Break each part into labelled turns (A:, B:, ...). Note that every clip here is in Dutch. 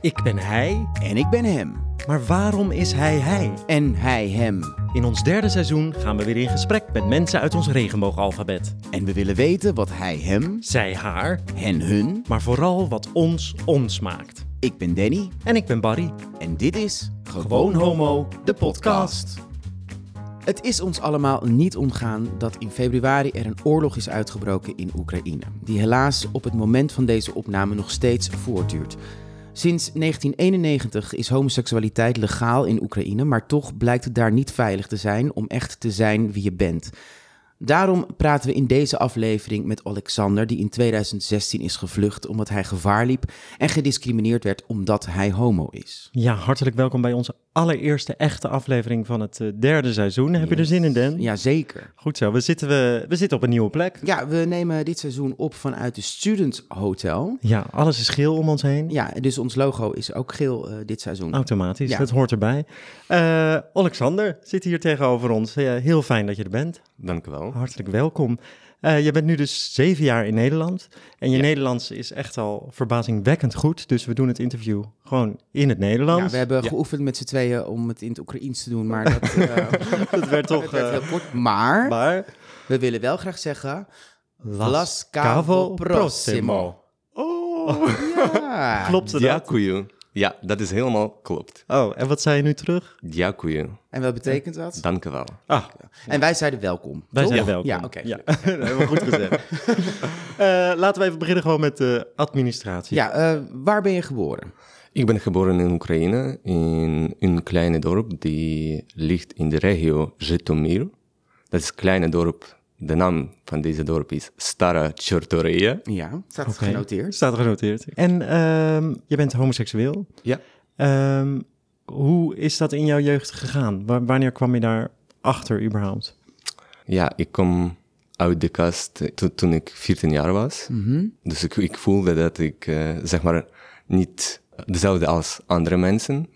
A: Ik ben hij,
B: En ik ben hem.
A: maar waarom is hij hij?
B: En hij hem.
A: In ons derde seizoen gaan we weer in gesprek met mensen uit ons regenboogalfabet.
B: En we willen weten wat hij hem,
A: Zij haar,
B: hen hun.
A: maar vooral wat ons ons maakt.
B: Ik ben Danny
A: En ik ben Barry.
B: en dit is Gewoon Homo, de podcast. Het is ons allemaal niet ontgaan dat in februari er een oorlog is uitgebroken in Oekraïne. Die helaas op het moment van deze opname nog steeds voortduurt. Sinds 1991 is homoseksualiteit legaal in Oekraïne, maar toch blijkt het daar niet veilig te zijn om echt te zijn wie je bent. Daarom praten we in deze aflevering met Alexander, die in 2016 is gevlucht omdat hij gevaar liep en gediscrimineerd werd omdat hij homo is.
A: Ja, hartelijk welkom bij onze allereerste echte aflevering van het eh, derde seizoen. Heb je er
B: Yes.
A: zin in, Dan?
B: Jazeker.
A: Goed zo, we zitten, we, we zitten op een nieuwe plek.
B: Ja, we nemen dit seizoen op vanuit de Student Hotel.
A: Ja, alles is geel om ons heen.
B: Ja, dus ons logo is ook geel eh, dit seizoen.
A: Automatisch,
B: Ja.
A: dat hoort erbij. Eh, Alexander zit hier tegenover ons. Eh, heel fijn dat je er bent.
C: Dank u wel.
A: Hartelijk welkom. Eh, je bent nu dus zeven jaar in Nederland. En je Nederlands is echt al verbazingwekkend goed. Dus we doen het interview gewoon in het Nederlands.
B: Ja, we hebben geoefend met z'n tweeën om het in het Oekraïens te doen, maar dat, eh,
A: Dat werd toch...
B: dat werd
A: eh,
B: heel kort. Maar
A: maar...
B: we willen wel graag zeggen...
A: Cavo
B: Vlaskavo Prosimo.
A: Oh,
B: Ja.
A: klopt het dat?
C: Дякую. Ja, dat is helemaal klopt.
A: Oh, en wat zei je nu terug?
C: Дякую.
B: En wat betekent dat?
C: Dank u wel.
A: Ah,
B: En wij zeiden welkom.
A: wij
B: toch?
A: zijn welkom.
B: Ja, oké.
A: Ja, dat hebben we goed gezegd. Eh, laten we even beginnen gewoon met de administratie.
B: Ja, eh, waar ben je geboren?
C: Ik ben geboren in Oekraïne, in een kleine dorp die ligt in de regio Zhytomyr. Dat is een kleine dorp. De naam van deze dorp is Stara Chertoria.
B: Ja, staat het
A: Oké.
B: genoteerd.
A: Staat genoteerd. En ehm, je bent homoseksueel.
C: Ja.
A: Ehm, hoe is dat in jouw jeugd gegaan? Wa- wanneer kwam je daar achter überhaupt?
C: Ja, ik kom uit de kast to- toen ik 14 jaar was. Dus ik, ik voelde dat ik, eh, zeg maar, niet dezelfde als andere mensen.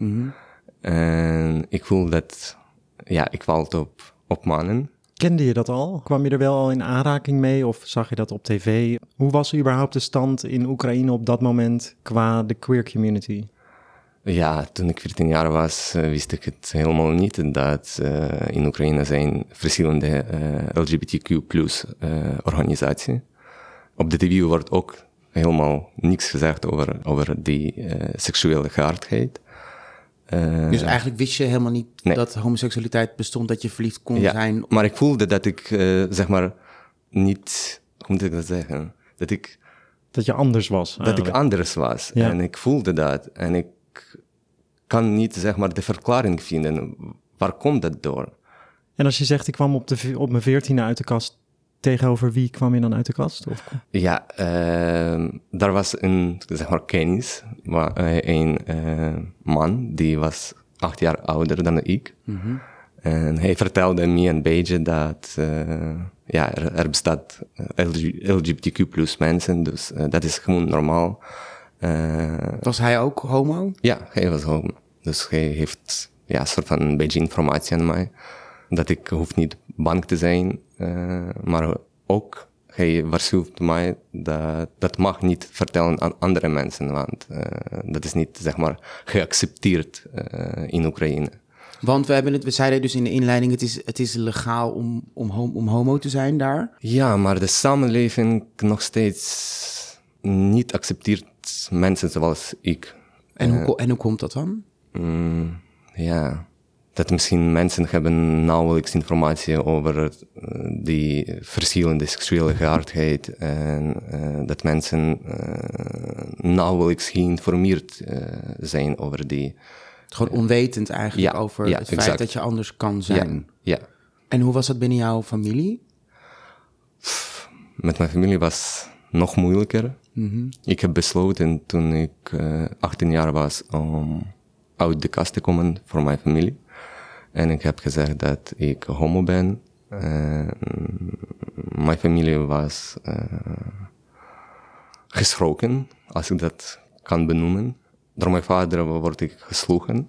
C: En ik voel dat, ja, ik val op, op mannen.
A: Kende je dat al? Kwam je er wel al in aanraking mee of zag je dat op tv? Hoe was überhaupt de stand in Oekraïne op dat moment qua de queer community?
C: Ja, toen ik 14 jaar was, eh, wist ik het helemaal niet dat eh, in Oekraïne zijn verschillende eh, LGBTQ plus organisaties. Op de tv wordt ook helemaal niks gezegd over, over die eh, seksuele geaardheid. Eh,
B: Dus eigenlijk wist je helemaal niet
C: Nee.
B: dat homoseksualiteit bestond, dat je verliefd kon zijn.
C: Maar ik voelde dat ik, eh, zeg maar, niet, hoe moet ik dat zeggen? Dat ik,
A: Dat je anders was.
C: dat ik anders was.
A: Ah, Ja.
C: En ik voelde dat. En ik kan niet, zeg maar, de verklaring vinden. Waar komt dat door?
A: En als je zegt, ik kwam op, de, ve- op mijn veertiende uit de kast, tegenover wie kwam je dan uit de kast? Of,
C: Ja, ehm, daar was een, zeg maar, kennis. Maar, eh, een eh, man, die was acht jaar ouder dan ik. En hij vertelde me een beetje dat eh, ja, er, er bestaat eh, LGBTQ plus mensen, dus eh, dat is gewoon normaal. Eh,
B: Was hij ook homo?
C: ja, hij was homo. Dus hij heeft ja, een soort van een beetje informatie aan mij. Dat ik hoef niet bang te zijn. eh, maar ook, hij waarschuwt mij dat dat mag niet vertellen aan andere mensen. Want eh, dat is niet, zeg maar, geaccepteerd eh, in Oekraïne.
B: Want we, hebben het, we zeiden dus in de inleiding, het is, het is legaal om, om, hom- om homo te zijn daar.
C: Ja, maar de samenleving nog steeds niet accepteert mensen zoals ik.
B: En,
C: Eh.
B: hoe, ko- en hoe komt dat dan?
C: Mm, ja. Dat misschien mensen hebben nauwelijks informatie over eh, die verschillende seksuele geaardheid en eh, dat mensen eh, nauwelijks geïnformeerd eh, zijn over die.
B: Gewoon onwetend eigenlijk
C: Ja,
B: over
C: ja,
B: het feit
C: exact.
B: dat je anders kan
C: Ja,
B: zijn.
C: ja.
B: En hoe was dat binnen jouw familie?
C: Met mijn familie was nog moeilijker. Ik heb besloten toen ik eh, 18 jaar was om uit de kast te komen voor mijn familie. En ik heb gezegd dat ik homo ben. En mijn familie was eh, geschrokken, als ik dat kan benoemen. Door mijn vader word ik geslogen.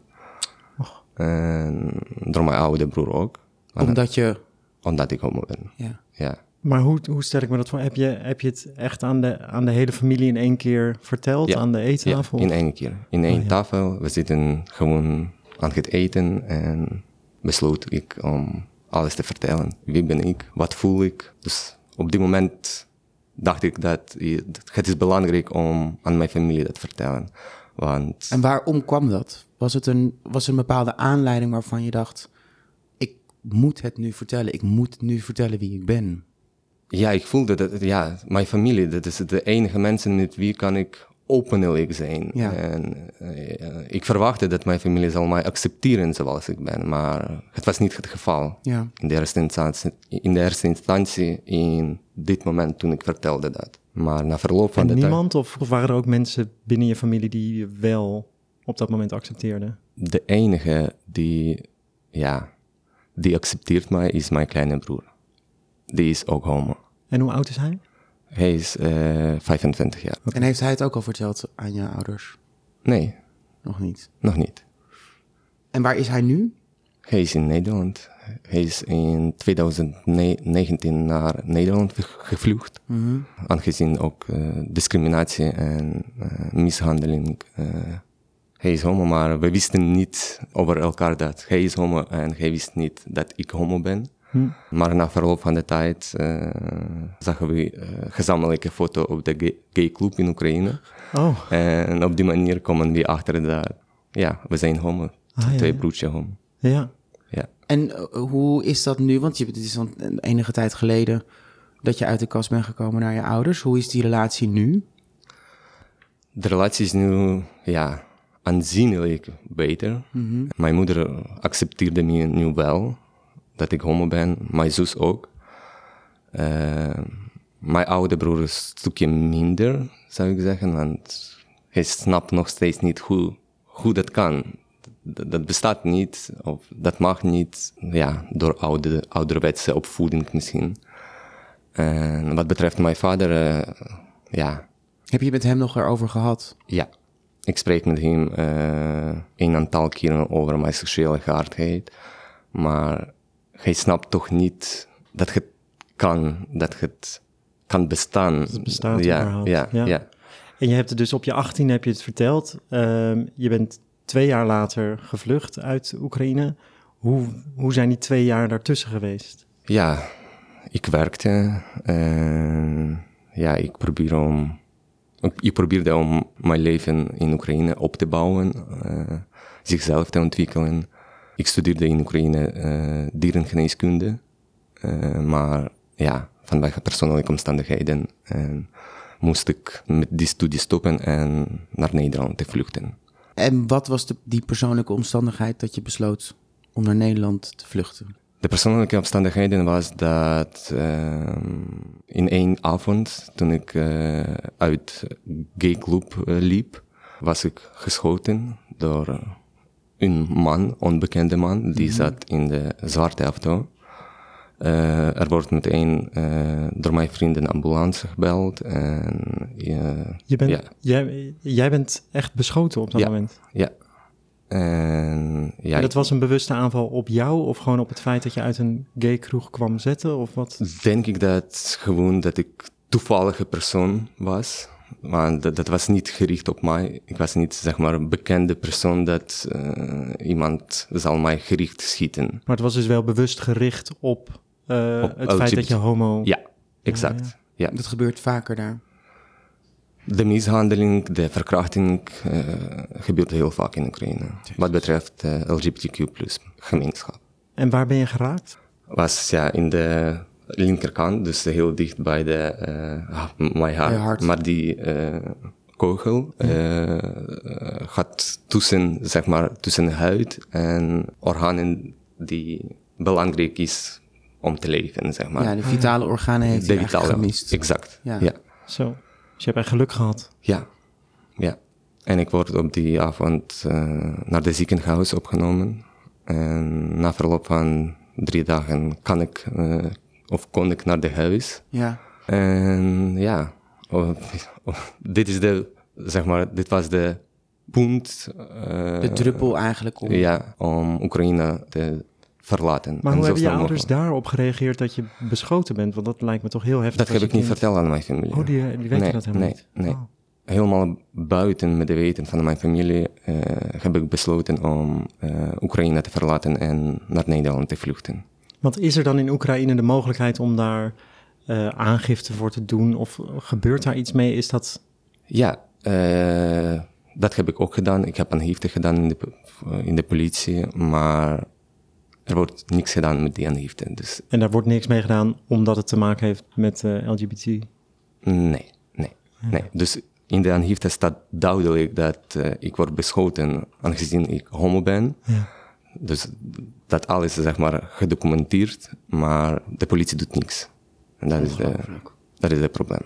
C: En door mijn oude broer ook.
B: Omdat je...
C: Omdat ik homo ben.
B: Ja.
C: Ja.
A: Maar hoe, hoe stel ik me dat voor? Heb je, heb je het echt aan de, aan de hele familie in één keer verteld?
C: Ja.
A: Aan de
C: Ja,
A: eettafel? Oh,
C: in één keer. In één tafel. We zitten gewoon aan het eten en besloot ik om alles te vertellen. Wie ben ik? Wat voel ik? Dus op die moment dacht ik dat je- dat het is belangrijk om aan mijn familie dat te vertellen. Want
B: En waarom kwam dat? Was het een, was er een bepaalde aanleiding waarvan je dacht: ik moet het nu vertellen, ik moet nu vertellen wie ik ben?
C: ja, ik voelde dat, ja, mijn familie, dat is de enige mensen met wie kan ik openlijk zijn.
B: Ja.
C: En eh, ik verwachtte dat mijn familie zal mij accepteren zoals ik ben, maar het was niet het geval.
B: Ja.
C: In de eerste instantie, in, de eerste instantie in dit moment toen ik vertelde dat. Maar na verloop van
A: En
C: de tijd...
A: niemand? Of, of waren er ook mensen binnen je familie die je wel op dat moment accepteerden?
C: De enige die, ja, die accepteert mij is mijn kleine broer. Die is ook homo.
A: En hoe oud is hij?
C: Hij is eh 25 jaar.
B: En heeft hij het ook al verteld aan je ouders?
C: Nee,
B: Nog niet.
C: nog niet.
B: En waar is hij nu?
C: Hij is in Nederland. Hij is in 2019 naar Nederland ge- gevlucht.
A: Mhm.
C: Aangezien ook eh, discriminatie en eh, mishandeling. eh, hij is homo, maar we wisten niet over elkaar dat hij is homo en hij wist niet dat ik homo ben.
A: Hm.
C: Maar na verloop van de tijd eh, zagen we eh, gezamenlijke foto op de gay- gay club in Oekraïne.
A: Oh,
C: En op die manier komen we achter dat, ja, we zijn homo.
A: Ah, ja,
C: Twee
A: ja.
C: broertjes homo.
A: ja.
C: Ja.
B: En eh, hoe is dat nu? Want je, het is al een- enige tijd geleden dat je uit de kast bent gekomen naar je ouders. Hoe is die relatie nu?
C: De relatie is nu ja, aanzienlijk beter. Mijn moeder accepteerde me nu wel dat ik homo ben, mijn zus ook. Eh, mijn oude broer is een stukje minder, zou ik zeggen, want hij snapt nog steeds niet hoe, hoe dat kan. Dat, dat bestaat niet, of dat mag niet, ja, door oude, ouderwetse opvoeding misschien. En wat betreft mijn vader, eh, ja,
B: Heb je met hem nog erover gehad?
C: ja. Ik spreek met hem eh een aantal keren over mijn seksuele geaardheid. Maar hij snapt toch niet dat het kan, dat het kan bestaan. het
A: bestaat
C: ja,
A: überhaupt,
C: ja,
A: ja.
C: ja.
A: En je hebt het dus op je 18 heb je het verteld. Ehm, je bent twee jaar later gevlucht uit Oekraïne. Hoe, hoe zijn die twee jaar daartussen geweest?
C: Ja, ik werkte. en ja, ik probeerde om, ik- ik probeerde om mijn leven in Oekraïne op te bouwen, eh, zichzelf te ontwikkelen. Ik studeerde in Oekraïne eh, dierengeneeskunde, eh, maar ja, vanwege persoonlijke omstandigheden eh, moest ik met die studie stoppen en naar Nederland te vluchten.
B: En wat was de, die persoonlijke omstandigheid dat je besloot om naar Nederland te vluchten?
C: De persoonlijke omstandigheden was dat ehm, in één avond, toen ik eh, uit gay club eh, liep, was ik geschoten door een man, onbekende man, die
A: Mhm.
C: zat in de zwarte auto. Eh, er wordt meteen eh, door mijn vrienden een ambulance gebeld en eh,
A: Je bent,
C: ja,
A: jij, jij bent echt beschoten op dat
C: Ja.
A: moment.
C: ja. En ja,
A: En dat was een bewuste aanval op jou of gewoon op het feit dat je uit een gay kroeg kwam zetten of wat?
C: denk ik dat gewoon dat ik toevallige persoon was. Want dat, dat was niet gericht op mij. Ik was niet, zeg maar, een bekende persoon dat eh, iemand zal mij gericht schieten.
A: Maar het was dus wel bewust gericht op, eh,
C: Op
A: het feit dat
C: LGBT.
A: je homo...
C: Ja, exact. Ja.
B: Dat gebeurt vaker daar.
C: De mishandeling, de verkrachting eh, gebeurt heel vaak in Oekraïne. Wat betreft eh, LGBTQ gemeenschap.
A: En waar ben je geraakt?
C: Was ja, in de linkerkant, dus heel dicht bij de, eh, ha- mijn hart.
B: Bij je hart.
C: Maar die eh, kogel eh, gaat tussen, zeg maar, tussen huid en organen die belangrijk is om te leven, zeg maar.
B: ja, de vitale organen heeft hij eigenlijk gemist.
C: Exact,
B: Ja.
C: ja.
A: Zo. Dus je hebt echt geluk gehad.
C: Ja, ja. En ik word op die avond eh, naar de ziekenhuis opgenomen. En na verloop van drie dagen kan ik, eh, of kon ik naar de huis.
B: Ja.
C: En ja, oh, oh, dit is de, zeg maar, dit was de punt. eh,
B: De druppel eigenlijk om.
C: ja, om Oekraïne te verlaten.
A: Maar
C: en
A: hoe
C: zo
A: hebben je
C: snel
A: ouders
C: mogelijk.
A: daarop gereageerd dat je beschoten bent? Want dat lijkt me toch heel heftig.
C: Dat
A: als
C: heb ik
A: je
C: niet
A: kind-
C: verteld aan mijn familie.
A: Oh, die, die weten
C: Nee,
A: dat helemaal
C: nee,
A: niet.
C: nee.
A: Oh.
C: Helemaal buiten met de weten van mijn familie eh, heb ik besloten om eh, Oekraïne te verlaten en naar Nederland te vluchten.
A: Want is er dan in Oekraïne de mogelijkheid om daar eh, aangifte voor te doen? Of gebeurt daar iets mee? Is dat...
C: Ja, eh, dat heb ik ook gedaan. Ik heb aangifte gedaan in de, po- in de politie, maar er wordt niks gedaan met die aangifte. Dus
A: En daar wordt niks mee gedaan omdat het te maken heeft met eh, LGBT?
C: nee, nee, nee. Dus in de aangifte staat duidelijk dat eh, ik word beschoten aangezien ik homo ben. Dus dat alles is zeg maar gedocumenteerd, maar de politie doet niks. En dat is, de, dat is het probleem.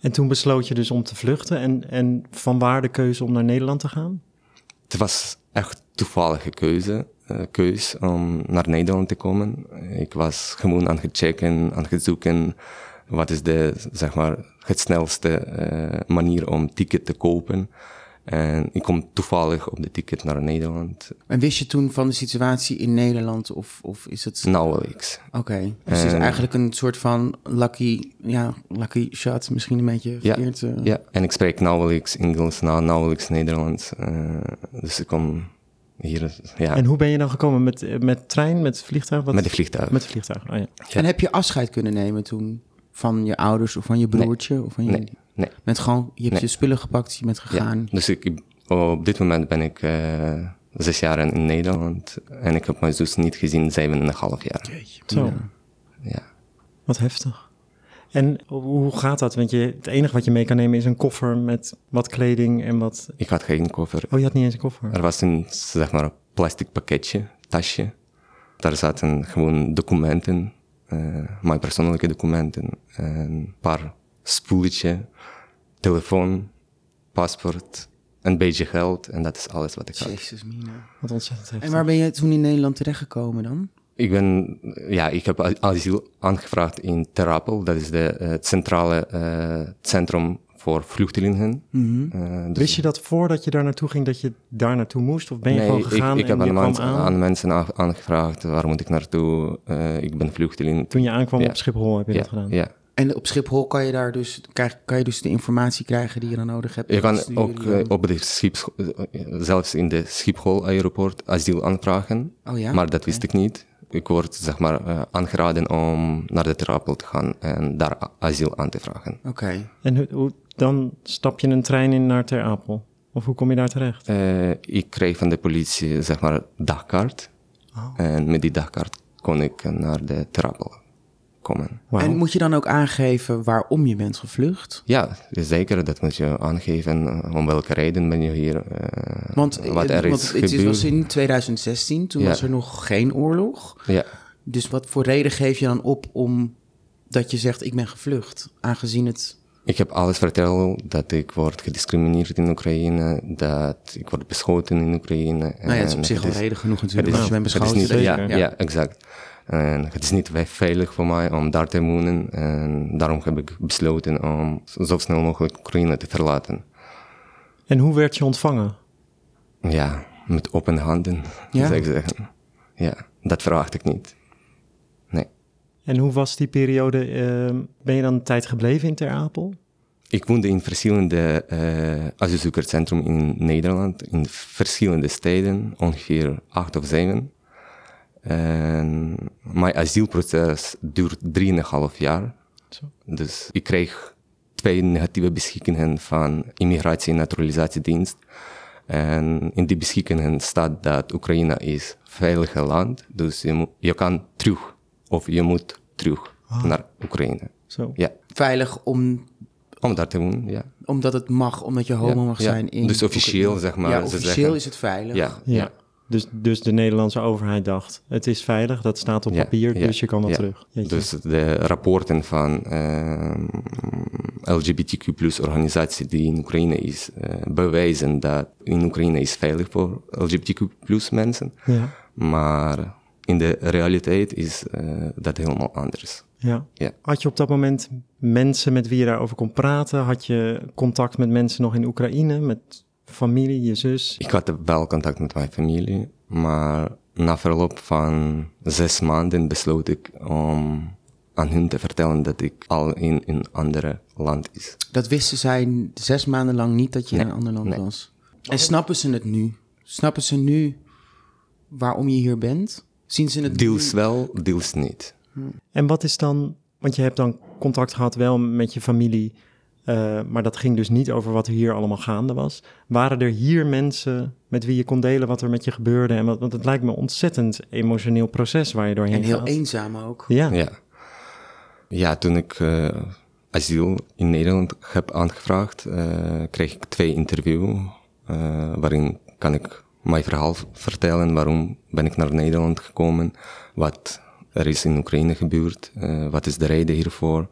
A: En toen besloot je dus om te vluchten. En, en vanwaar de keuze om naar Nederland te gaan?
C: Het was echt toevallige keuze, eh, keus om naar Nederland te komen. Ik was gewoon aan het checken, aan het zoeken. Wat is de, zeg maar, het snelste eh, manier om ticket te kopen? En ik kom toevallig op de ticket naar Nederland.
B: En wist je toen van de situatie in Nederland of, of is het...
C: Nauwelijks.
B: Oké, dus
C: Eh.
B: het is eigenlijk een soort van lucky, ja, lucky shot, misschien een beetje
C: Ja,
B: verkeerd.
A: Hmm.
B: eh.
C: ja, en ik spreek nauwelijks Engels, nou, nauwelijks Nederlands. eh, dus ik kom hier ja,
A: En hoe ben je dan gekomen? Met, eh, met trein, met vliegtuig? Wat-
C: met de vliegtuig.
A: Met vliegtuig, oh ja.
B: En heb je afscheid kunnen nemen toen van je ouders of van je broertje? Of van je...
C: Nee, nee.
B: Met gewoon, je hebt
C: Nee.
B: je spullen gepakt, je bent gegaan.
C: Dus ik, op dit moment ben ik eh, zes jaar in Nederland en ik heb mijn zus niet gezien, zeven en een half jaar.
A: Zo,
C: Ja.
A: wat heftig. En hoe gaat dat? Want je, het enige wat je mee kan nemen is een koffer met wat kleding en wat...
C: Ik had geen koffer.
A: Oh, je had niet eens een koffer.
C: Er was een, zeg maar, plastic pakketje, tasje. Daar zaten gewoon documenten, eh, mijn persoonlijke documenten, een paar spoeltje, telefoon, paspoort, een beetje geld en dat is alles wat ik had.
B: Jezus, Mina.
A: Wat ontzettend heftig.
B: En waar ben je toen in Nederland terechtgekomen dan?
C: Ik ben, ja, ik heb a- asiel aangevraagd in Terapel. Dat is de, eh, het centrale eh, centrum voor vluchtelingen. Eh, dus-
A: Wist Mhm. je dat voordat je daar naartoe ging, dat je daar naartoe moest? Of ben je
C: nee,
A: gewoon
C: ik-
A: gegaan
C: ik, heb
A: en je
C: aan,
A: kwam
C: mensen-
A: aan,
C: aan mensen a- aangevraagd, waar moet ik naartoe? Eh, ik ben vluchteling.
A: Toen je aankwam
C: Ja.
A: op Schiphol heb je
C: ja,
A: dat gedaan.
C: ja.
B: En op Schiphol kan je daar dus, krijg, kan je dus de informatie krijgen die je dan nodig hebt.
C: Je
B: Dus
C: kan
B: die-
C: ook eh, op de schip, zelfs in de Schiphol airport asiel aanvragen.
A: Ah,
B: Oh ja?
C: eh, Maar dat wist ik niet. Ik word zeg maar eh, aangeraden om naar de Terapel te gaan en daar a- asiel aan te vragen.
B: Oké.
A: En hoe, hoe- dan stap je een trein in naar Ter Apel. Of hoe kom je daar terecht?
C: Eh, ik kreeg van de politie, zeg maar, dagkaart.
B: Oh.
C: En met die dagkaart kon ik naar de trappel komen.
A: Wauw.
B: En moet je dan ook aangeven waarom je bent gevlucht?
C: Ja, zeker, dat moet je aangeven. eh, Om welke reden ben je hier? eh,
B: Want, eh,
C: wat er
B: want
C: is
B: het is-
C: gebeurd.
B: was in 2016, toen
C: Ja.
B: was er nog geen oorlog.
C: Ja,
B: Dus wat voor reden geef je dan op om dat je zegt ik ben gevlucht? Aangezien het...
C: ik heb alles verteld, dat ik word gediscrimineerd in Oekraïne, dat ik word beschoten in Oekraïne.
B: Nou ja, het is op zich
C: het
B: al reden genoeg natuurlijk. Als je bent
C: Het is
B: beschoten.
C: niet,
B: dat je-
C: ja,
A: zeker.
C: ja. exact. En het is niet we- veilig voor mij om daar te wonen. En daarom heb ik besloten om zo snel mogelijk Oekraïne te verlaten.
A: En hoe werd je ontvangen?
C: Ja, met open handen,
B: Ja?
C: zou ik zeggen. Ja, dat verwacht ik niet. Nee.
A: En hoe was die periode? ehm, ben je dan een tijd gebleven in Ter Apel?
C: Ik woonde in verschillende eh asielzoekerscentra in Nederland, in verschillende steden, ongeveer acht of zeven. En mijn asielproces duurt drieënhalf jaar.
A: Zo.
C: Dus ik kreeg twee negatieve beschikkingen van Immigratie- en Naturalisatiedienst. En in die beschikkingen staat dat Oekraïne is veiliger land, dus je, mo- je kan terug, of je moet terug naar Oekraïne.
A: Zo.
C: Ja,
B: Veilig om,
C: om daar te wonen, ja.
B: omdat het mag, omdat je homo
C: Ja,
B: mag
C: ja.
B: zijn in...
C: Dus officieel, zeg maar,
B: Ja,
C: ze
B: officieel
C: zeggen.
B: is het veilig.
C: Ja,
A: Ja. Dus, dus de Nederlandse overheid dacht, het is veilig, dat staat op
C: ja,
A: papier,
C: ja,
A: dus je kan wel
C: ja.
A: terug. Jeetje.
C: Dus de rapporten van ehm, LGBTQ plus organisatie die in Oekraïne is, eh, bewijzen dat in Oekraïne is veilig voor LGBTQ plus mensen.
A: Ja,
C: Maar in de realiteit is eh, dat helemaal anders.
A: ja.
C: Ja.
A: Had je op dat moment mensen met wie je daarover kon praten? Had je contact met mensen nog in Oekraïne, met familie, je zus?
C: Ik had wel contact met mijn familie, maar na verloop van zes maanden besloot ik om aan hun te vertellen dat ik al in een ander land is.
B: Dat wisten zij zes maanden lang niet dat je in een ander land
C: nee.
B: was. En snappen ze het nu? Snappen ze nu waarom je hier bent? Zien ze het
C: Deels wel, deels niet.
A: En wat is dan, want je hebt dan contact gehad wel met je familie, eh, maar dat ging dus niet over wat er hier allemaal gaande was. Waren er hier mensen met wie je kon delen wat er met je gebeurde? En wat, want het lijkt me een ontzettend emotioneel proces waar je doorheen
B: En heel
A: gaat.
B: eenzaam ook.
A: Ja.
C: e- Ja. Ja, toen ik eh, asiel in Nederland heb aangevraagd, eh, kreeg ik twee interviews eh, waarin kan ik mijn verhaal v- vertellen, waarom ben ik naar Nederland gekomen, wat er is in Oekraïne gebeurd, eh, wat is de reden hiervoor.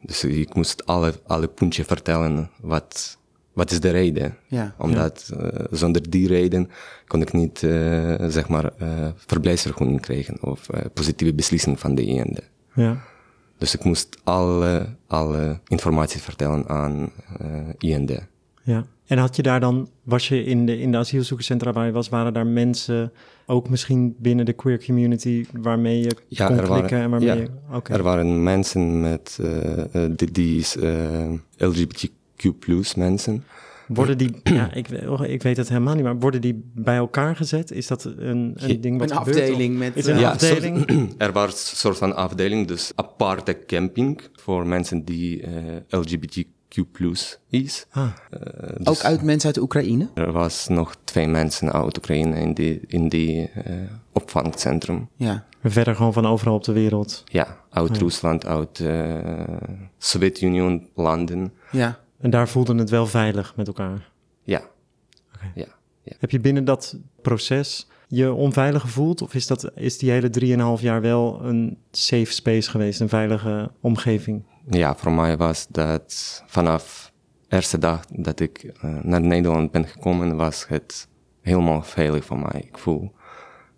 C: Dus ik moest alle, alle puntjes vertellen, wat, wat is de reden.
B: Ja.
C: Omdat eh, zonder die reden kon ik niet, eh, zeg maar, eh verblijfsvergunning krijgen of eh, positieve beslissing van de E IND.
A: ja.
C: Dus ik moest alle, alle informatie vertellen aan eh IND.
A: Ja. En had je daar dan, was je in de, in de asielzoekerscentra waar je was, waren daar mensen, ook misschien binnen de queer community, waarmee je kon klikken en waarmee
C: ja,
A: je... Oké,
C: er waren mensen met, eh, eh, die, die is eh, LGBTQ plus mensen.
A: worden die, ja, ik, oh, ik weet het helemaal niet, maar worden die bij elkaar gezet? Is dat een, een ding wat
B: Een
A: gebeurt? Of-
B: afdeling met,
A: Is er een
B: eh,
C: Ja,
A: afdeling?
C: soort- er was een soort van afdeling, dus aparte camping voor mensen die eh, LGBTQ plus is.
A: Ah,
C: Eh, dus
B: Ook uit mensen uit de Oekraïne?
C: Er was nog twee mensen uit Oekraïne in die, in die eh, opvangcentrum.
B: Ja.
A: verder gewoon van overal op de wereld.
C: Ja, uit
A: Hmm.
C: Rusland, uit eh Sovjet-Unie landen.
B: Ja.
A: En daar voelden het wel veilig met elkaar.
C: Ja.
A: Oké.
C: ja, ja.
A: Heb je binnen dat proces je onveilig gevoeld? Of is, dat, is die hele 3,5 jaar wel een safe space geweest, een veilige omgeving?
C: Ja, voor mij was dat vanaf de eerste dag dat ik eh, naar Nederland ben gekomen, was het helemaal veilig voor mij. Ik voel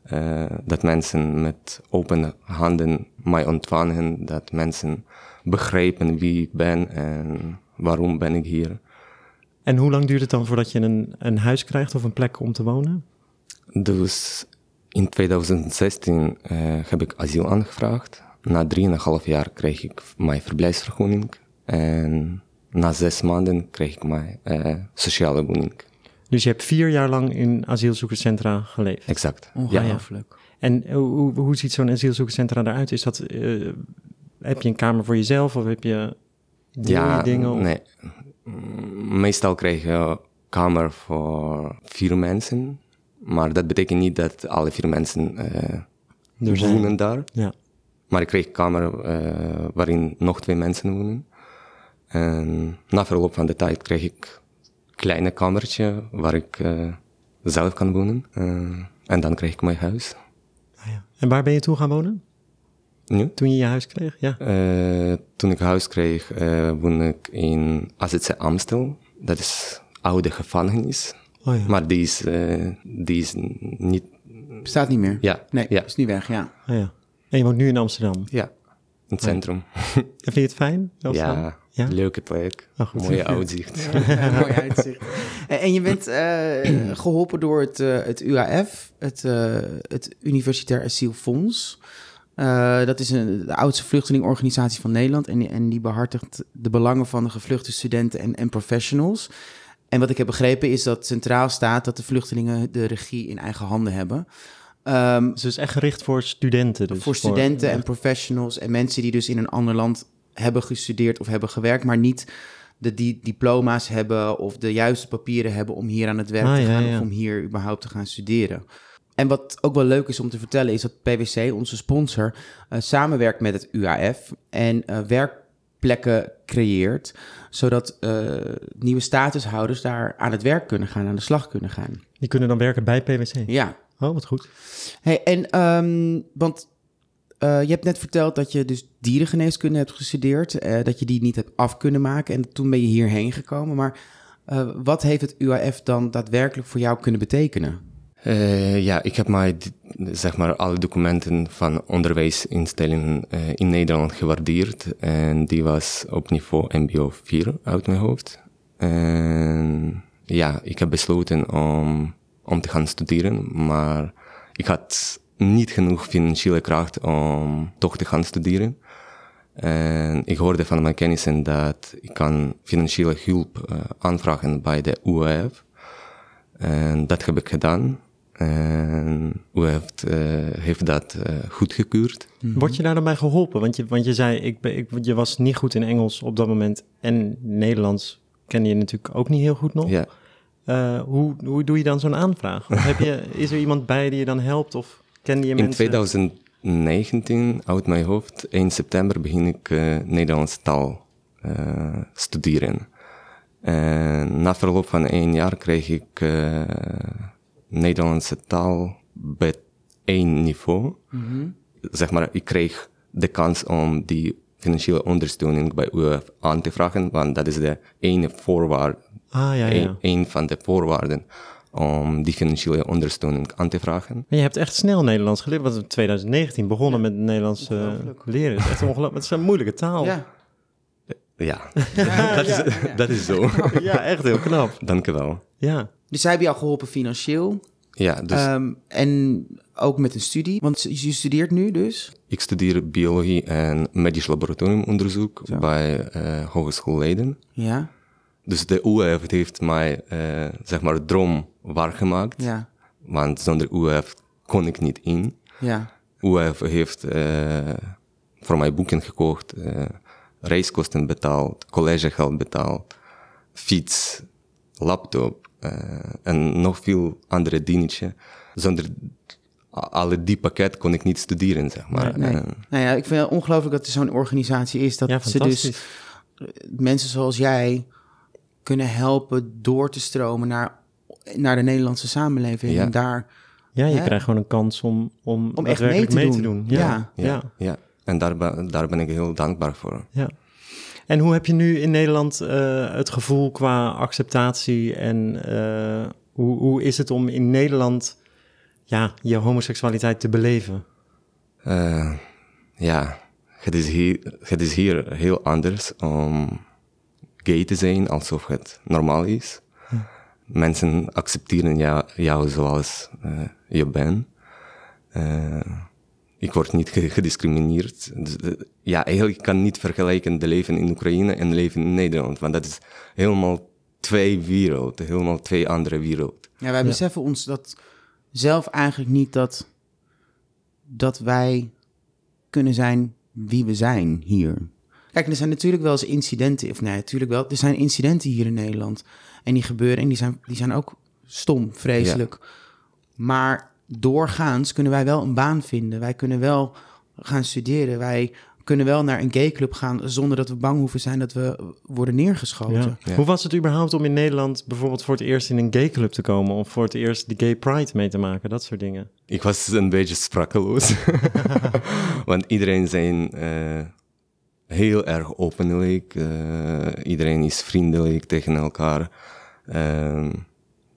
C: eh, dat mensen met open handen mij ontvangen, dat mensen begrijpen wie ik ben en waarom ben ik hier.
A: En hoe lang duurt het dan voordat je een, een huis krijgt of een plek om te wonen?
C: Dus in 2016 eh, heb ik asiel aangevraagd. Na 3,5 jaar kreeg ik mijn verblijfsvergunning. En na zes maanden kreeg ik mijn eh, sociale woning.
A: Dus je hebt vier jaar lang in asielzoekerscentra geleefd.
C: Exact. Ja.
B: Ongelooflijk.
A: En hoe- hoe, hoe ziet zo'n asielzoekerscentra eruit? Is dat, eh, heb je een kamer voor jezelf of heb je deel je dingen? Of-
C: nee. Mm, Meestal krijg je kamer voor vier mensen. Maar dat betekent niet dat alle vier mensen eh,
A: Er zijn-
C: wonen daar.
A: Ja.
C: Maar ik kreeg een kamer eh, waarin nog twee mensen wonen. En na verloop van de tijd kreeg ik een kleine kamertje waar ik eh, zelf kan wonen. Eh, en dan kreeg ik mijn huis.
A: Ah, ja. En waar ben je toe gaan wonen?
C: Nu?
A: Toen je je huis kreeg? Ja.
C: Eh, toen ik huis kreeg, eh woonde ik in AZC Amstel. Dat is oude gevangenis.
A: Oh, ja.
C: Maar die is, eh, die is niet...
B: Bestaat niet meer?
C: Ja.
B: Nee,
C: Ja.
B: is niet weg, ja.
A: Ah, ja. En je woont nu in Amsterdam.
C: Ja, in het centrum.
A: En vind je het fijn? Amsterdam?
C: Ja,
A: Ja?
C: leuke plek.
A: Ah, goed.
C: Mooie uitzicht.
B: Mooi uitzicht. En, en je bent eh, geholpen door het, eh, het UAF, het, eh, het Universitair Asielfonds. Eh, dat is een, de oudste vluchtelingorganisatie van Nederland. En, die- en die behartigt de belangen van de gevluchte studenten en, en professionals. En wat ik heb begrepen is dat centraal staat dat de vluchtelingen de regie in eigen handen hebben. Ehm,
A: Dus het is echt gericht voor studenten. Dus
B: voor studenten
A: ja.
B: en professionals en mensen die dus in een ander land hebben gestudeerd of hebben gewerkt, maar niet de die diploma's hebben of de juiste papieren hebben om hier aan het werk
A: Ah,
B: te
A: ja,
B: gaan
A: ja.
B: of om hier überhaupt te gaan studeren. En wat ook wel leuk is om te vertellen is dat PwC, onze sponsor, eh, samenwerkt met het UAF en eh, werkplekken creëert, zodat eh, nieuwe statushouders daar aan het werk kunnen gaan, aan de slag kunnen gaan.
A: Die kunnen dan werken bij PwC.
B: Ja,
A: Oh, wat goed.
B: Hey, en ehm, want eh, je hebt net verteld dat je dus dierengeneeskunde hebt gestudeerd, eh, dat je die niet hebt af kunnen maken en toen ben je hierheen gekomen. Maar eh, wat heeft het UAF dan daadwerkelijk voor jou kunnen betekenen?
C: Eh, ja, ik heb mij, d- zeg maar, alle documenten van onderwijsinstellingen eh, in Nederland gewaardeerd. En die was op niveau MBO 4 uit mijn hoofd. En ja, ik heb besloten om, om te gaan studeren, maar ik had niet genoeg financiële kracht om toch te gaan studeren. En ik hoorde van mijn kennissen dat ik kan financiële hulp eh, aanvragen bij de UEF. En dat heb ik gedaan. En UEF eh, heeft dat eh, goedgekeurd.
A: Word je daar dan bij geholpen? Want je, want je zei, ik, ben- ik, je was niet goed in Engels op dat moment. En Nederlands kende je natuurlijk ook niet heel goed nog.
C: Ja.
A: Eh, hoe, hoe doe je dan zo'n aanvraag? Of heb je, is er iemand bij die je dan helpt? Of kende je
C: In
A: mensen?
C: 2019, uit mijn hoofd, 1 september begin ik eh, Nederlandse taal eh, studeren. En na verloop van één jaar kreeg ik eh, Nederlandse taal bij één niveau.
A: Mhm.
C: Zeg maar, ik kreeg de kans om die financiële ondersteuning bij UF aan te vragen, want dat is de ene voorwaarde
A: Ah, ja, ja.
C: een, een van de voorwaarden om die financiële ondersteuning aan te vragen.
A: Maar je hebt echt snel Nederlands geleerd. Want in 2019 begonnen met Nederlands eh, leren. Het is echt ongelooflijk. Het is een moeilijke taal.
B: Ja.
C: Ja, dat, is, dat is zo.
A: Ja, echt heel knap.
C: Dankjewel.
A: Ja.
B: Dus zij hebben jou geholpen financieel
C: Ja, dus
B: ehm, en ook met een studie. Want je studeert nu dus.
C: ik studeer biologie en medisch laboratoriumonderzoek bij eh, Hogeschool Leiden.
B: Ja,
C: Dus de UF heeft mij, eh, zeg maar, droom waargemaakt.
B: ja,
C: Want zonder UF kon ik niet in.
B: ja.
C: UF heeft eh, voor mij boeken gekocht, eh, reiskosten betaald, collegegeld betaald, fiets, laptop eh, en nog veel andere dingetjes. Zonder a- alle die pakket kon ik niet studeren, zeg maar. Eh,
B: Nee.
C: En-
B: Nou ja, ik vind het ongelooflijk dat er zo'n organisatie is. Dat
A: Ja,
B: ze dus
A: fantastisch.
B: mensen zoals jij kunnen helpen door te stromen naar, naar de Nederlandse samenleving.
C: Ja.
B: En daar,
A: Ja, je
B: Hè?
A: krijgt gewoon een kans om, om,
B: Om echt
A: daadwerkelijk
B: mee te
A: doen.
B: doen.
A: Ja. Ja.
C: ja. en daar, ben- daar ben ik heel dankbaar voor.
A: ja. En hoe heb je nu in Nederland eh, het gevoel qua acceptatie en eh, hoe, hoe is het om in Nederland ja, je homoseksualiteit te beleven?
C: Eh, ja, het is, hier, het is hier heel anders om gay te zijn alsof het normaal is. Mensen accepteren jou, jou zoals eh, je bent. Eh, ik word niet ge- gediscrimineerd. Dus, eh, ja, eigenlijk kan ik niet vergelijken de leven in Oekraïne en leven in Nederland, want dat is helemaal twee werelden, helemaal twee andere werelden.
B: ja, wij beseffen ons dat zelf eigenlijk niet dat, dat wij kunnen zijn wie we zijn hier. Kijk, er zijn natuurlijk wel eens incidenten, of nee, natuurlijk wel, er zijn incidenten hier in Nederland. En die gebeuren en die zijn, die zijn ook stom, vreselijk. Maar doorgaans kunnen wij wel een baan vinden. Wij kunnen wel gaan studeren. Wij kunnen wel naar een gayclub gaan zonder dat we bang hoeven zijn dat we worden neergeschoten.
A: Ja. Hoe was het überhaupt om in Nederland bijvoorbeeld voor het eerst in een gayclub te komen of voor het eerst de gay pride mee te maken, dat soort dingen?
C: Ik was dus een beetje sprakeloos. Want iedereen zijn eh, heel erg openlijk. eh, iedereen is vriendelijk tegen elkaar. Ehm,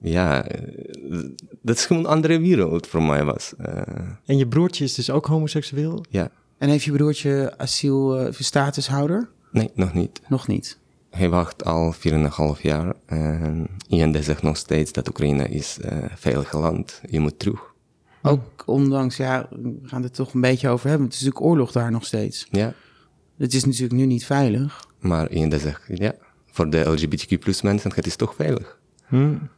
C: ja, eh, dat is gewoon een andere wereld voor mij was. Eh,
A: En je broertje is dus ook homoseksueel?
C: ja,
B: En heeft je broertje asiel, eh, of je statushouder?
C: nee, nog niet.
B: Nog niet.
C: Hij wacht al 4,5 jaar. En IND zegt nog steeds dat Oekraïne is eh veilig land. Je moet terug.
B: Ook ondanks, ja, we gaan het toch een beetje over hebben. Het is natuurlijk oorlog daar nog steeds.
C: Ja,
B: Het is natuurlijk nu niet veilig.
C: maar IND zegt ja. Voor de LGBTQ mensen, het is toch veilig.
B: En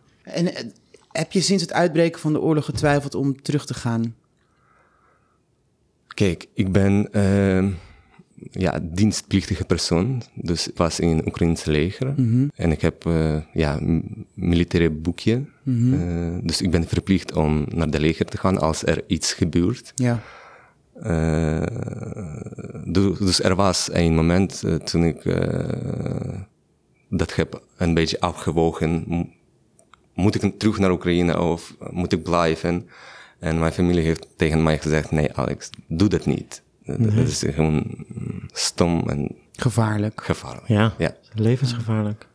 B: eh, heb je sinds het uitbreken van de oorlog getwijfeld om terug te gaan?
C: Kijk, ik ben ehm, ja, dienstplichtige persoon. Dus ik was in het Oekraïnse leger. En ik heb eh, ja, m- militaire boekje. Eh, dus ik ben verplicht om naar de leger te gaan als er iets gebeurt.
B: Ja.
C: Eh, du- dus er was een moment eh, toen ik eh, dat heb een beetje afgewogen. M- Moet ik terug naar Oekraïne of moet ik blijven? En mijn familie heeft tegen mij gezegd, nee Alex, doe dat niet. Dat- Dat is gewoon mm, stom en
B: Gevaarlijk.
C: gevaarlijk.
A: Ja,
C: Ja.
A: levensgevaarlijk.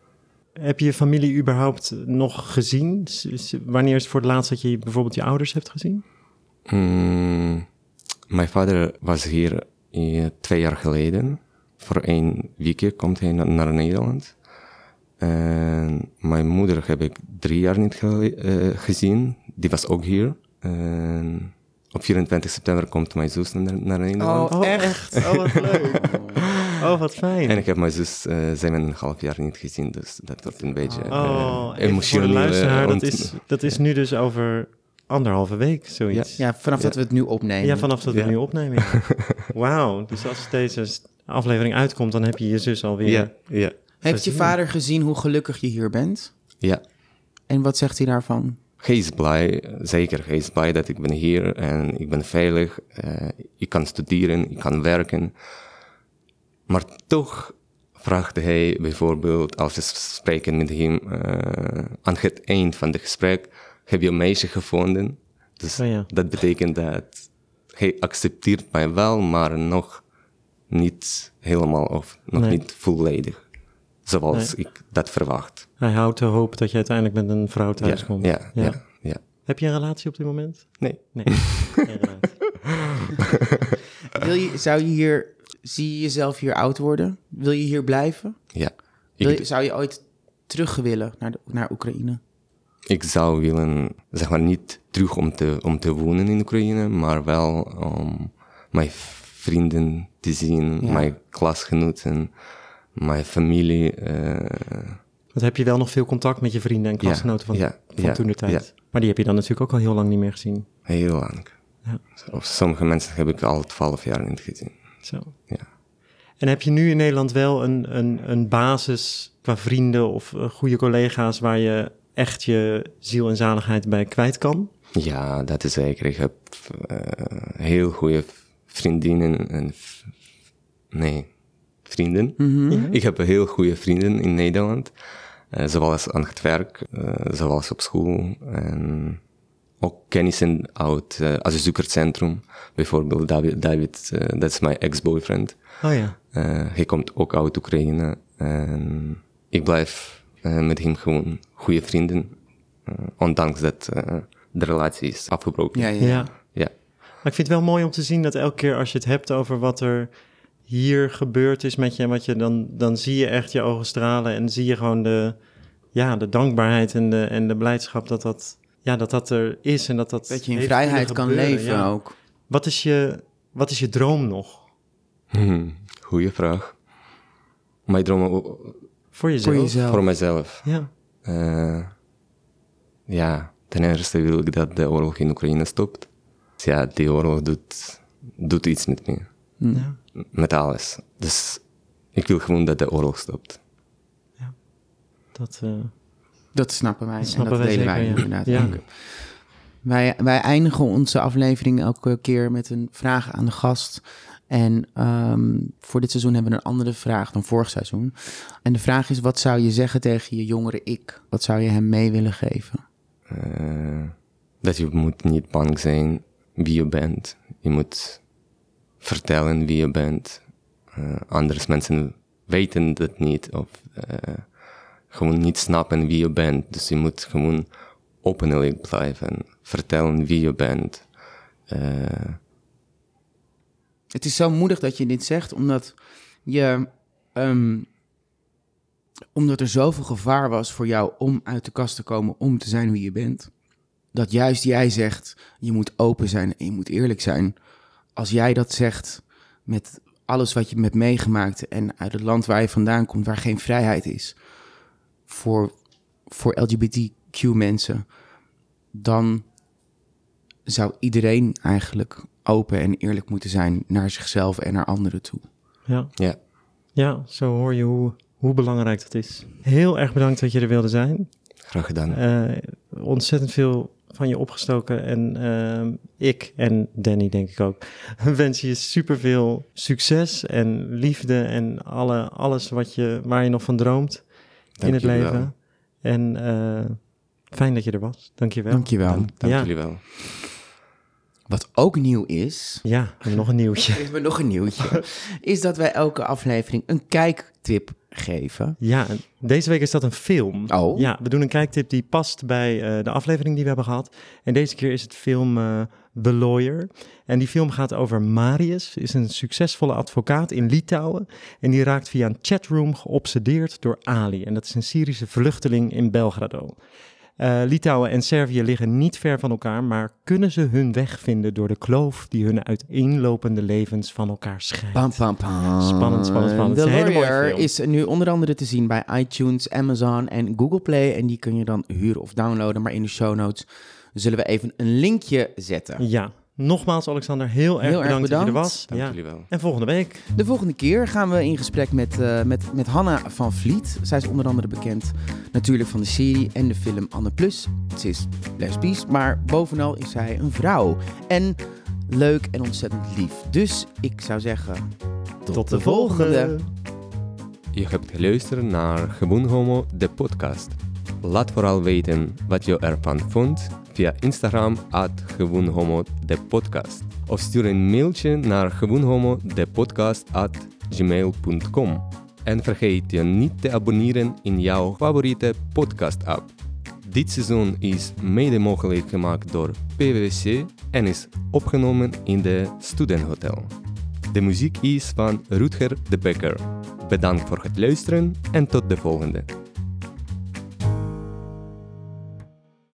A: Heb je je familie überhaupt nog gezien? S- s- Wanneer is het voor het laatst dat je bijvoorbeeld je ouders hebt gezien?
C: Mm, mijn vader was hier eh, twee jaar geleden. Voor één weekje komt hij na- naar Nederland. En mijn moeder heb ik drie jaar niet gele- eh, gezien. Die was ook hier. En Op 24 september komt mijn zus naar, naar Nederland.
B: Oh, echt?
A: Oh, wat leuk. Oh, wat fijn.
C: En ik heb mijn zus eh zevenenhalf jaar niet gezien, dus dat wordt een beetje eh,
A: oh, even voor de
C: emotioneel. eh,
A: luisteraar, dat
C: ont-
A: is, dat is nu dus over anderhalve week, zoiets. Ja,
B: Ja, vanaf dat we het nu opnemen.
A: vanaf dat we
C: Ja.
A: nu opnemen. ja. Wauw, dus als deze s- aflevering uitkomt, dan heb je je zus alweer.
C: Ja, ja,
B: Heeft je vader gezien hoe gelukkig je hier bent?
C: ja.
B: En wat zegt hij daarvan?
C: Hij is blij, zeker. Hij is blij dat ik ben hier en ik ben veilig. eh, ik kan studeren, ik kan werken. Maar toch vraagt hij bijvoorbeeld, als we spreken met hem, eh, aan het eind van het gesprek, heb je een meisje gevonden? Dus
A: Oh ja.
C: dat betekent dat hij accepteert mij wel, maar nog niet helemaal of nog
A: Nee.
C: niet volledig. Zoals ik dat verwacht.
A: Hij houdt de hoop dat je uiteindelijk met een vrouw thuis komt.
C: ja, ja, ja, ja.
A: Heb je een relatie op dit moment?
C: Nee.
A: Nee, geen relatie.
B: Wil je, zou je hier, zie je jezelf hier oud worden? Wil je hier blijven?
C: Ja.
B: Wil
C: Ik,
B: je, zou je ooit terug willen naar, de- naar Oekraïne?
C: ik zou willen, zeg maar niet terug om te, om te wonen in Oekraïne, maar wel om mijn vrienden te zien,
B: Ja.
C: mijn klasgenoten, mijn familie. eh,
A: Want heb je wel nog veel contact met je vrienden en klasgenoten van,
C: ja,
A: van
C: ja,
A: toen de tijd? Maar die heb je dan natuurlijk ook al heel lang niet meer gezien.
C: heel lang.
A: Ja.
C: Of sommige mensen heb ik al twaalf jaar niet gezien.
A: Zo.
C: Ja.
A: En heb je nu in Nederland wel een, een, een basis qua vrienden of eh, goede collega's waar je echt je ziel en zaligheid bij kwijt kan?
C: Ja, dat is zeker. Ik heb eh, heel goede vriendinnen en... v- Nee, vrienden. Ik heb heel goede vrienden in Nederland. eh, zoals aan het werk, eh, zoals op school. En ook kennissen uit eh het zoekercentrum. Bijvoorbeeld David, David eh, dat is mijn ex-boyfriend.
A: Oh ja.
C: Eh, hij komt ook uit Oekraïne. En ik blijf eh, met hem gewoon goede vrienden. eh, ondanks dat eh, de relatie is afgebroken.
B: Ja,
C: ja.
B: ja.
A: Ja.
B: ja.
A: Maar ik vind het wel mooi om te zien dat elke keer als je het hebt over wat er hier gebeurd is met je, en wat je dan, dan zie je echt je ogen stralen en zie je gewoon de, ja, de dankbaarheid en de, en de blijdschap dat dat, ja, dat dat er is en dat dat.
B: Dat je in
A: heeft
B: vrijheid
A: kunnen
B: kan
A: gebeuren,
B: leven
A: ja.
B: ook.
A: Wat is je, wat is je droom nog
C: Hmm, goeie vraag. Mijn dromen o-
A: voor jezelf?
B: jezelf.
C: voor mezelf.
A: Ja.
C: Eh, ja, ten eerste wil ik dat de oorlog in Oekraïne stopt. Ja, die oorlog doet, doet iets met me.
B: Hmm.
A: ja.
C: Met alles. Dus ik wil gewoon dat de oorlog stopt.
A: Dat, eh,
B: Dat snappen wij.
A: snappen
B: en dat
A: wij
B: delen
A: zeker,
B: wij
A: ja.
B: inderdaad
A: Ja.
B: ook. Wij, wij eindigen onze aflevering elke keer met een vraag aan de gast. En ehm, voor dit seizoen hebben we een andere vraag dan vorig seizoen. En de vraag is: wat zou je zeggen tegen je jongere ik? Wat zou je hem mee willen geven?
C: Eh, dat je moet niet bang zijn wie je bent. Je moet vertellen wie je bent. Eh, anders mensen weten dat niet of eh, gewoon niet snappen wie je bent. Dus je moet gewoon openlijk blijven. Vertellen wie je bent. Eh,
B: Het is zo moedig dat je dit zegt, omdat je. ehm, omdat er zoveel gevaar was voor jou om uit de kast te komen, om te zijn wie je bent. Dat juist jij zegt, je moet open zijn en je moet eerlijk zijn. Als jij dat zegt met alles wat je hebt meegemaakt en uit het land waar je vandaan komt, waar geen vrijheid is voor, voor LGBTQ mensen, dan zou iedereen eigenlijk open en eerlijk moeten zijn naar zichzelf en naar anderen toe.
A: ja.
C: ja,
A: ja, zo hoor je hoe, hoe belangrijk dat is. Heel erg bedankt dat je er wilde zijn.
C: graag gedaan.
A: Eh, ontzettend veel van je opgestoken. En ehm, ik en Danny, denk ik ook, wensen je superveel succes en liefde en alle, alles wat je, waar je nog van droomt in
C: Dank
A: het
C: jullie
A: leven.
C: wel.
A: En eh, fijn dat je er was. Dank je wel.
B: Dankjewel.
C: Dank
A: Ja.
C: jullie wel.
B: Wat ook nieuw is,
A: Ja, we hebben nog een nieuwtje.
B: er is maar nog een nieuwtje, is dat wij elke aflevering een kijktip geven.
A: Ja, en deze week is dat een film.
B: Oh.
A: Ja, we doen een kijktip die past bij eh, de aflevering die we hebben gehad. En deze keer is het film eh, The Lawyer. En die film gaat over Marius, is een succesvolle advocaat in Litouwen. En die raakt via een chatroom geobsedeerd door Ali. En dat is een Syrische vluchteling in Belgrado. Eh, Litouwen en Servië liggen niet ver van elkaar, maar kunnen ze hun weg vinden door de kloof die hun uiteenlopende levens van elkaar scheidt?
B: Pam, pam, pam.
A: Spannend, spannend, spannend.
B: The
A: Het is een hele mooie
B: Lawyer
A: film.
B: is nu onder andere te zien bij iTunes, Amazon en Google Play. En die kun je dan huren of downloaden. Maar in de show notes zullen we even een linkje zetten.
A: Ja, nogmaals Alexander, heel erg
B: Heel erg
A: bedankt, dat je er
B: bedankt.
A: was.
C: Dank
A: ja.
C: jullie wel.
A: En volgende week.
B: De volgende keer gaan we in gesprek met, eh, met, met Hanna van Vliet. Zij is onder andere bekend natuurlijk van de serie en de film Anne Plus. Ze is lesbisch, maar bovenal is zij een vrouw. En leuk en ontzettend lief. Dus ik zou zeggen, tot, de volgende.
C: Je hebt geluisterd naar Gewoon Homo, de podcast. Laat vooral weten wat je ervan vond via Instagram at Gewoon Homo, de podcast. Of stuur een mailtje naar gewoonhomo, de podcast at gmail.com. En vergeet je niet te abonneren in jouw favoriete podcast-app. Dit seizoen is mede mogelijk gemaakt door PwC en is opgenomen in de Studenhotel. De muziek is van Rutger de Becker. Bedankt voor het luisteren en tot de volgende.